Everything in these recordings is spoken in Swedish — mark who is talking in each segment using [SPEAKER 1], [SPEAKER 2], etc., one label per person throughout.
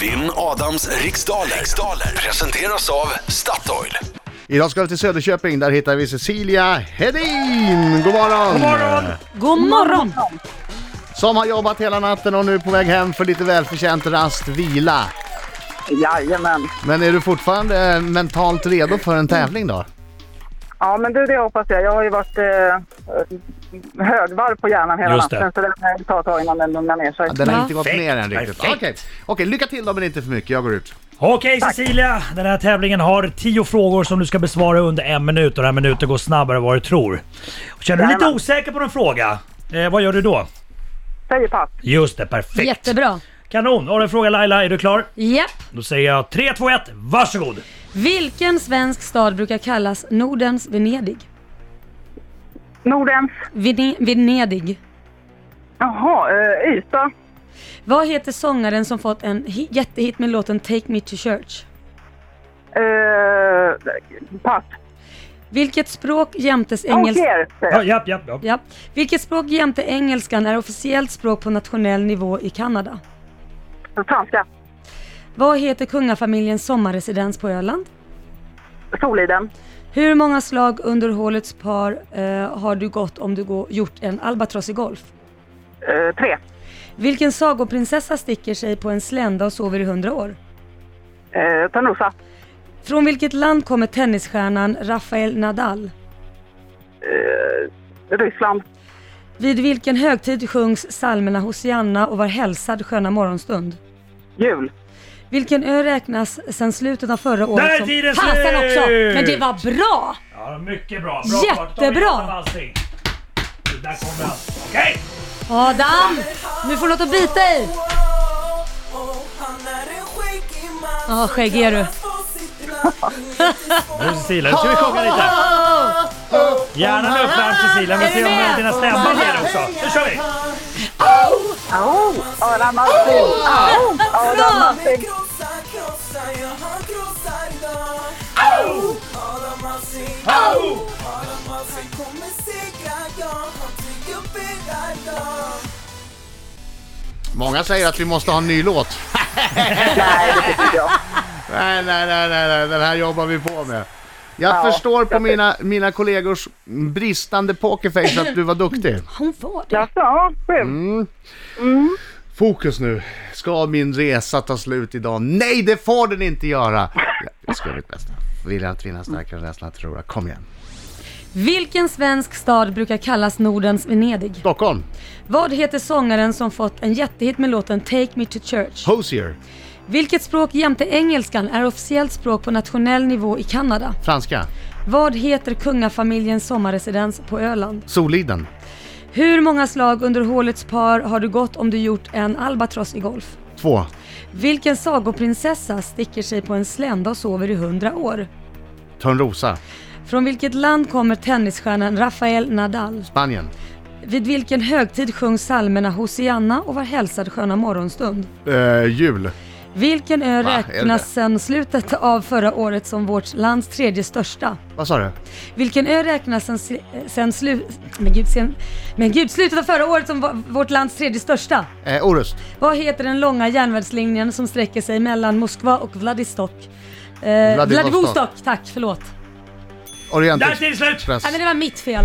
[SPEAKER 1] Vinn Adams riksdaler. riksdaler presenteras av Statoil.
[SPEAKER 2] Idag ska vi till Söderköping, där hittar vi Cecilia Hedin! God morgon!
[SPEAKER 3] God morgon!
[SPEAKER 2] Som har jobbat hela natten och nu är på väg hem för lite välförtjänt rast, vila.
[SPEAKER 4] Jajamän.
[SPEAKER 2] Men är du fortfarande eh, mentalt redo för en tävling då?
[SPEAKER 4] Ja, men du, det hoppas jag. Jag har ju varit eh, högvarv på hjärnan hela
[SPEAKER 5] Just det.
[SPEAKER 4] natten, så det kan ta ett tag innan den lugnar ner sig.
[SPEAKER 2] Den har
[SPEAKER 3] Ja.
[SPEAKER 2] inte gått ner än riktigt. Okej,
[SPEAKER 5] Perfekt.
[SPEAKER 2] Okej, lycka till då men inte för mycket, jag går ut.
[SPEAKER 5] Okej Cecilia, den här tävlingen har 10 frågor som du ska besvara under en minut och den här minuten går snabbare än vad du tror. Känner du dig lite
[SPEAKER 4] Jajamän.
[SPEAKER 5] osäker på en fråga, eh, vad gör du då?
[SPEAKER 4] Säger pass.
[SPEAKER 5] Just det, perfekt!
[SPEAKER 3] Jättebra.
[SPEAKER 5] Kanon! Har du en fråga Laila, är du klar?
[SPEAKER 3] Japp.
[SPEAKER 5] Då säger jag 3, 2, 1, varsågod!
[SPEAKER 3] Vilken svensk stad brukar kallas Nordens Venedig?
[SPEAKER 4] Nordens.
[SPEAKER 3] Vene- Venedig.
[SPEAKER 4] Jaha, eh, Ystad.
[SPEAKER 3] Vad heter sångaren som fått en hi- jättehit med låten Take Me To Church?
[SPEAKER 4] Eh, pass.
[SPEAKER 3] Vilket språk jämtes
[SPEAKER 4] Engels...
[SPEAKER 3] engelskan...
[SPEAKER 5] Ja, japp, japp, japp.
[SPEAKER 3] Ja. Vilket spåk jämte engelskan är officiellt språk på nationell nivå i Kanada?
[SPEAKER 4] Franska.
[SPEAKER 3] Vad heter kungafamiljens sommarresidens på Öland?
[SPEAKER 4] Soliden.
[SPEAKER 3] Hur många slag under hålets par eh, har du gått om du går, gjort en albatross i golf?
[SPEAKER 4] Eh, tre.
[SPEAKER 3] Vilken sagoprinsessa sticker sig på en slända och sover i hundra år?
[SPEAKER 4] Eh, Törnrosa.
[SPEAKER 3] Från vilket land kommer tennisstjärnan Rafael Nadal?
[SPEAKER 4] Ryssland.
[SPEAKER 3] Vid vilken högtid sjungs psalmerna Hosianna och Var hälsad sköna morgonstund?
[SPEAKER 4] Jul.
[SPEAKER 3] Vilken ö räknas sedan slutet av förra året
[SPEAKER 5] Där är
[SPEAKER 3] som...
[SPEAKER 5] tiden
[SPEAKER 3] Fasen
[SPEAKER 5] slut!
[SPEAKER 3] också! Men det var bra!
[SPEAKER 5] Ja, mycket bra!
[SPEAKER 3] Jättebra.
[SPEAKER 5] fart. Ta igenom allting. Där kommer han. Okej!
[SPEAKER 3] Adam! Nu får du något att bita i!
[SPEAKER 6] Ja, skäggig är du.
[SPEAKER 5] Nu Cecilia, nu ska vi sjunga lite. Gärna med uppvärmd Cecilia, vi
[SPEAKER 3] Är
[SPEAKER 5] får se
[SPEAKER 3] du med?
[SPEAKER 5] om dina stämband är det också. Nu kör vi!
[SPEAKER 4] Au! Adam Alsing. Au! Adam
[SPEAKER 3] Bra!
[SPEAKER 4] Alsing.
[SPEAKER 2] Många säger att vi måste ha en ny låt.
[SPEAKER 4] Nej, det tycker inte jag.
[SPEAKER 2] Nej, nej, nej, nej, nej. den här jobbar vi på med. Jag
[SPEAKER 4] Ja,
[SPEAKER 2] förstår på
[SPEAKER 4] jag-
[SPEAKER 2] mina, mina kollegors bristande pokerface att du var duktig.
[SPEAKER 3] Hon var det.
[SPEAKER 4] Jaså, sjukt.
[SPEAKER 5] Mm.
[SPEAKER 2] Fokus nu. Ska min resa ta slut idag? Nej, det får den inte göra! Jag ska göra mitt bästa. Viljan att vinna starkare än rädslan att förlora. Kom igen.
[SPEAKER 3] Vilken svensk stad brukar kallas Nordens Venedig?
[SPEAKER 2] Stockholm.
[SPEAKER 3] Vad heter sångaren som fått en jättehit med låten Take Me To Church?
[SPEAKER 2] Hosier.
[SPEAKER 3] Vilket språk jämte engelskan är officiellt språk på nationell nivå i Kanada?
[SPEAKER 2] Franska.
[SPEAKER 3] Vad heter kungafamiljens sommarresidens på Öland?
[SPEAKER 2] Soliden.
[SPEAKER 3] Hur många slag under hålets par har du gått om du gjort en albatross i golf?
[SPEAKER 2] Två.
[SPEAKER 3] Vilken sagoprinsessa sticker sig på en slända och sover i hundra år?
[SPEAKER 2] Törnrosa.
[SPEAKER 3] Från vilket land kommer tennisstjärnan Rafael Nadal?
[SPEAKER 2] Spanien.
[SPEAKER 3] Vid vilken högtid sjungs psalmerna Hosianna och Var hälsad sköna morgonstund?
[SPEAKER 2] Eh, jul.
[SPEAKER 3] Vilken ö
[SPEAKER 2] Va, helvete.
[SPEAKER 3] räknas sedan slutet av förra året som vårt lands tredje största?
[SPEAKER 2] Vad sa du?
[SPEAKER 3] Vilken ö räknas sen, sl- sen, slu, men gud, sen men gud, slutet av förra året som va- vårt lands tredje största?
[SPEAKER 2] Eh, Orust.
[SPEAKER 3] Vad heter den långa järnvägslinjen som sträcker sig mellan Moskva och Vladistok? Eh,
[SPEAKER 2] Vladivostok.
[SPEAKER 3] Vladivostok, tack, förlåt.
[SPEAKER 5] Där är
[SPEAKER 2] Orientex.
[SPEAKER 5] tiden slut!
[SPEAKER 2] Press.
[SPEAKER 3] Nej men det var mitt fel.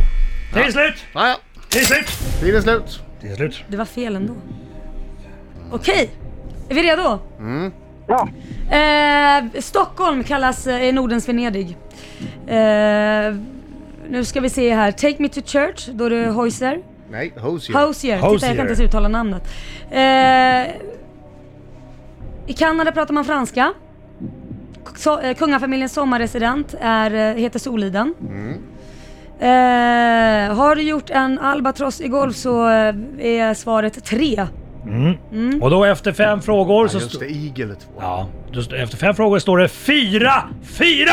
[SPEAKER 5] Tiden slut!
[SPEAKER 2] Ah, ja.
[SPEAKER 5] Tiden slut!
[SPEAKER 2] Tiden är slut.
[SPEAKER 5] Tiden slut!
[SPEAKER 3] Det var fel ändå. Okej, är vi redo?
[SPEAKER 4] Ja.
[SPEAKER 3] Eh, Stockholm kallas eh, Nordens Venedig. Eh, nu ska vi se här. Take me to church, då är det Heuser.
[SPEAKER 2] Nej, Hosier.
[SPEAKER 3] Hosier. Titta, jag
[SPEAKER 5] Hosier.
[SPEAKER 3] kan inte ens uttala namnet. Eh, I Kanada pratar man franska. K- So, eh, kungafamiljens sommarresident är, eh, heter Soliden. Eh, har du gjort en albatross i golf så eh, är svaret tre.
[SPEAKER 5] Och då efter fem frågor så...
[SPEAKER 2] Ja, just
[SPEAKER 5] sto-
[SPEAKER 2] det, igel två.
[SPEAKER 5] Ja, just efter fem frågor står det 4-4!
[SPEAKER 2] Aj,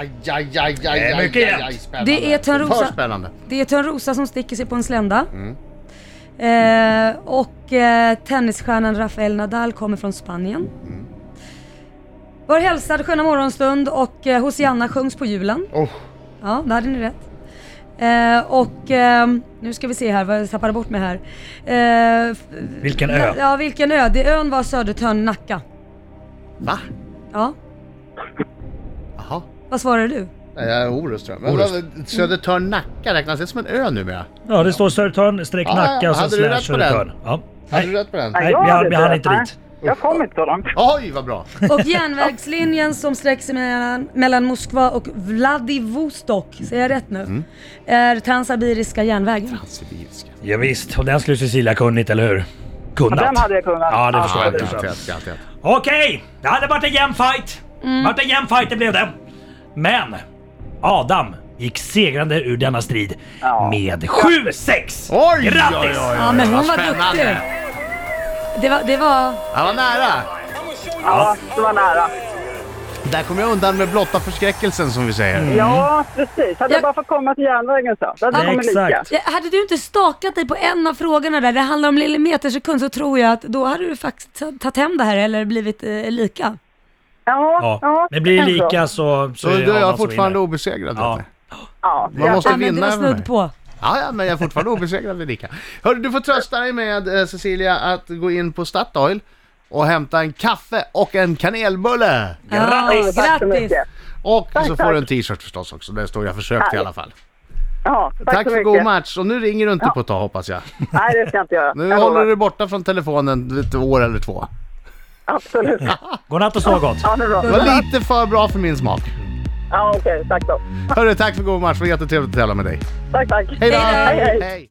[SPEAKER 2] aj, aj, aj, aj,
[SPEAKER 5] är
[SPEAKER 2] aj,
[SPEAKER 5] mycket
[SPEAKER 2] aj,
[SPEAKER 5] jämnt.
[SPEAKER 2] spännande.
[SPEAKER 3] Det är Törnrosa.
[SPEAKER 2] För spännande.
[SPEAKER 3] Det är Törnrosa som sticker sig på en slända. Eh, och eh, tennisstjärnan Rafael Nadal kommer från Spanien. Var hälsad sköna morgonstund och eh, Hosianna sjungs på julen.
[SPEAKER 2] Oh,
[SPEAKER 3] Ja, där hade ni rätt. Eh, och ehm, nu ska vi se här, vad jag tappade bort mig här. Eh, f-
[SPEAKER 5] Vilken ö?
[SPEAKER 3] Ja, vilken ö? Det, ön var Södertörn, Nacka.
[SPEAKER 2] Va?
[SPEAKER 3] Ja.
[SPEAKER 2] Jaha.
[SPEAKER 3] Vad svarar du?
[SPEAKER 2] Nej, jag är Orust tror jag. Men
[SPEAKER 5] Orust.
[SPEAKER 2] vad- Södertörn Nacka räknas det som en ö numera?
[SPEAKER 5] Ja, det står Södertörn streck
[SPEAKER 2] Ja,
[SPEAKER 5] Nacka och sen
[SPEAKER 2] hade du rätt
[SPEAKER 5] slash
[SPEAKER 2] på
[SPEAKER 5] Södertörn.
[SPEAKER 2] den?
[SPEAKER 5] Ja.
[SPEAKER 2] Hade du
[SPEAKER 5] Nej.
[SPEAKER 2] rätt på den?
[SPEAKER 5] Nej,
[SPEAKER 4] jag
[SPEAKER 5] vi hann-
[SPEAKER 4] hade
[SPEAKER 5] vi
[SPEAKER 4] inte
[SPEAKER 5] hann
[SPEAKER 4] det.
[SPEAKER 5] inte
[SPEAKER 4] Nej,
[SPEAKER 5] dit.
[SPEAKER 4] Jag kom inte så långt.
[SPEAKER 2] Oj, vad bra!
[SPEAKER 3] Och järnvägslinjen som sträcker sig mellan, mellan Moskva och Vladivostok, säger jag rätt nu?
[SPEAKER 2] Mm.
[SPEAKER 3] Är Transsibiriska järnvägen.
[SPEAKER 2] Sibiriska.
[SPEAKER 5] Ja, visst, och den skulle Cecilia kunnit, eller hur? Kunnat.
[SPEAKER 4] Den hade jag kunnat.
[SPEAKER 5] Ja, det
[SPEAKER 2] Ah,
[SPEAKER 5] förstår jag.
[SPEAKER 4] Absolut.
[SPEAKER 2] Garanterat, garanterat.
[SPEAKER 5] Okej, det hade varit en jämn fight.
[SPEAKER 4] Mm.
[SPEAKER 5] Vart en jämn fight det blev det. Men Adam gick segrande ur denna strid med 7-6.
[SPEAKER 2] Oj, oj, oj,
[SPEAKER 5] Grattis!
[SPEAKER 2] oj.
[SPEAKER 3] Ja men hon
[SPEAKER 2] vad
[SPEAKER 3] var
[SPEAKER 2] spännande.
[SPEAKER 3] duktig. Det var, det var...
[SPEAKER 2] Han var nära!
[SPEAKER 4] Ja, det var nära.
[SPEAKER 2] Där kom jag undan med blotta förskräckelsen som vi säger.
[SPEAKER 5] Mm.
[SPEAKER 2] Mm.
[SPEAKER 4] Ja, precis. Hade
[SPEAKER 3] Jag-
[SPEAKER 4] jag bara fått komma till järnvägen så. Då hade
[SPEAKER 5] Ja,
[SPEAKER 4] jag kommit lika.
[SPEAKER 5] exakt.
[SPEAKER 3] Ja, Hade du inte stakat dig på en av frågorna där, det handlar om millimetersekund, så tror jag att då hade du faktiskt ta- tagit hem det här eller blivit eh, lika.
[SPEAKER 4] Ja,
[SPEAKER 5] Ja,
[SPEAKER 4] ja.
[SPEAKER 5] men blir det
[SPEAKER 4] kanske.
[SPEAKER 5] lika så...
[SPEAKER 2] Så
[SPEAKER 5] är det
[SPEAKER 2] då är
[SPEAKER 5] Adam
[SPEAKER 2] jag
[SPEAKER 5] som
[SPEAKER 2] fortfarande
[SPEAKER 5] vinner.
[SPEAKER 2] obesegrad.
[SPEAKER 5] Ja.
[SPEAKER 2] vet
[SPEAKER 4] Ja,
[SPEAKER 2] ni. Man måste
[SPEAKER 3] Ja, men det
[SPEAKER 2] vinna
[SPEAKER 3] var
[SPEAKER 2] över mig.
[SPEAKER 3] snudd på.
[SPEAKER 2] Ja, ja, men jag är fortfarande obesegrad med Rika. Hörru, du får trösta dig med eh, Cecilia att gå in på Statoil och hämta en kaffe och en kanelbulle.
[SPEAKER 5] Grattis!
[SPEAKER 4] Tack så
[SPEAKER 3] grattis.
[SPEAKER 4] mycket.
[SPEAKER 2] Och så får
[SPEAKER 4] tack.
[SPEAKER 2] du en t-shirt förstås också, där står jag försökt i alla fall.
[SPEAKER 4] Ja, tack,
[SPEAKER 2] Tack, för
[SPEAKER 4] så mycket.
[SPEAKER 2] god match och nu ringer du inte på ett tag hoppas jag.
[SPEAKER 4] Nej, det ska jag inte göra.
[SPEAKER 2] Nu
[SPEAKER 4] Jag
[SPEAKER 2] håller
[SPEAKER 4] lovar.
[SPEAKER 2] du borta från telefonen ett år eller två.
[SPEAKER 4] Absolut.
[SPEAKER 5] Godnatt och sov gott.
[SPEAKER 4] Ja, det är bra.
[SPEAKER 2] Det var lite för bra för min smak.
[SPEAKER 4] Ja, okej. Tack då.
[SPEAKER 2] Hörru, tack för god match, det var jättetrevligt att tävla med dig.
[SPEAKER 4] Tack, tack.
[SPEAKER 2] Hej då!
[SPEAKER 3] Hej
[SPEAKER 4] då. Hej, hej.
[SPEAKER 2] Hej.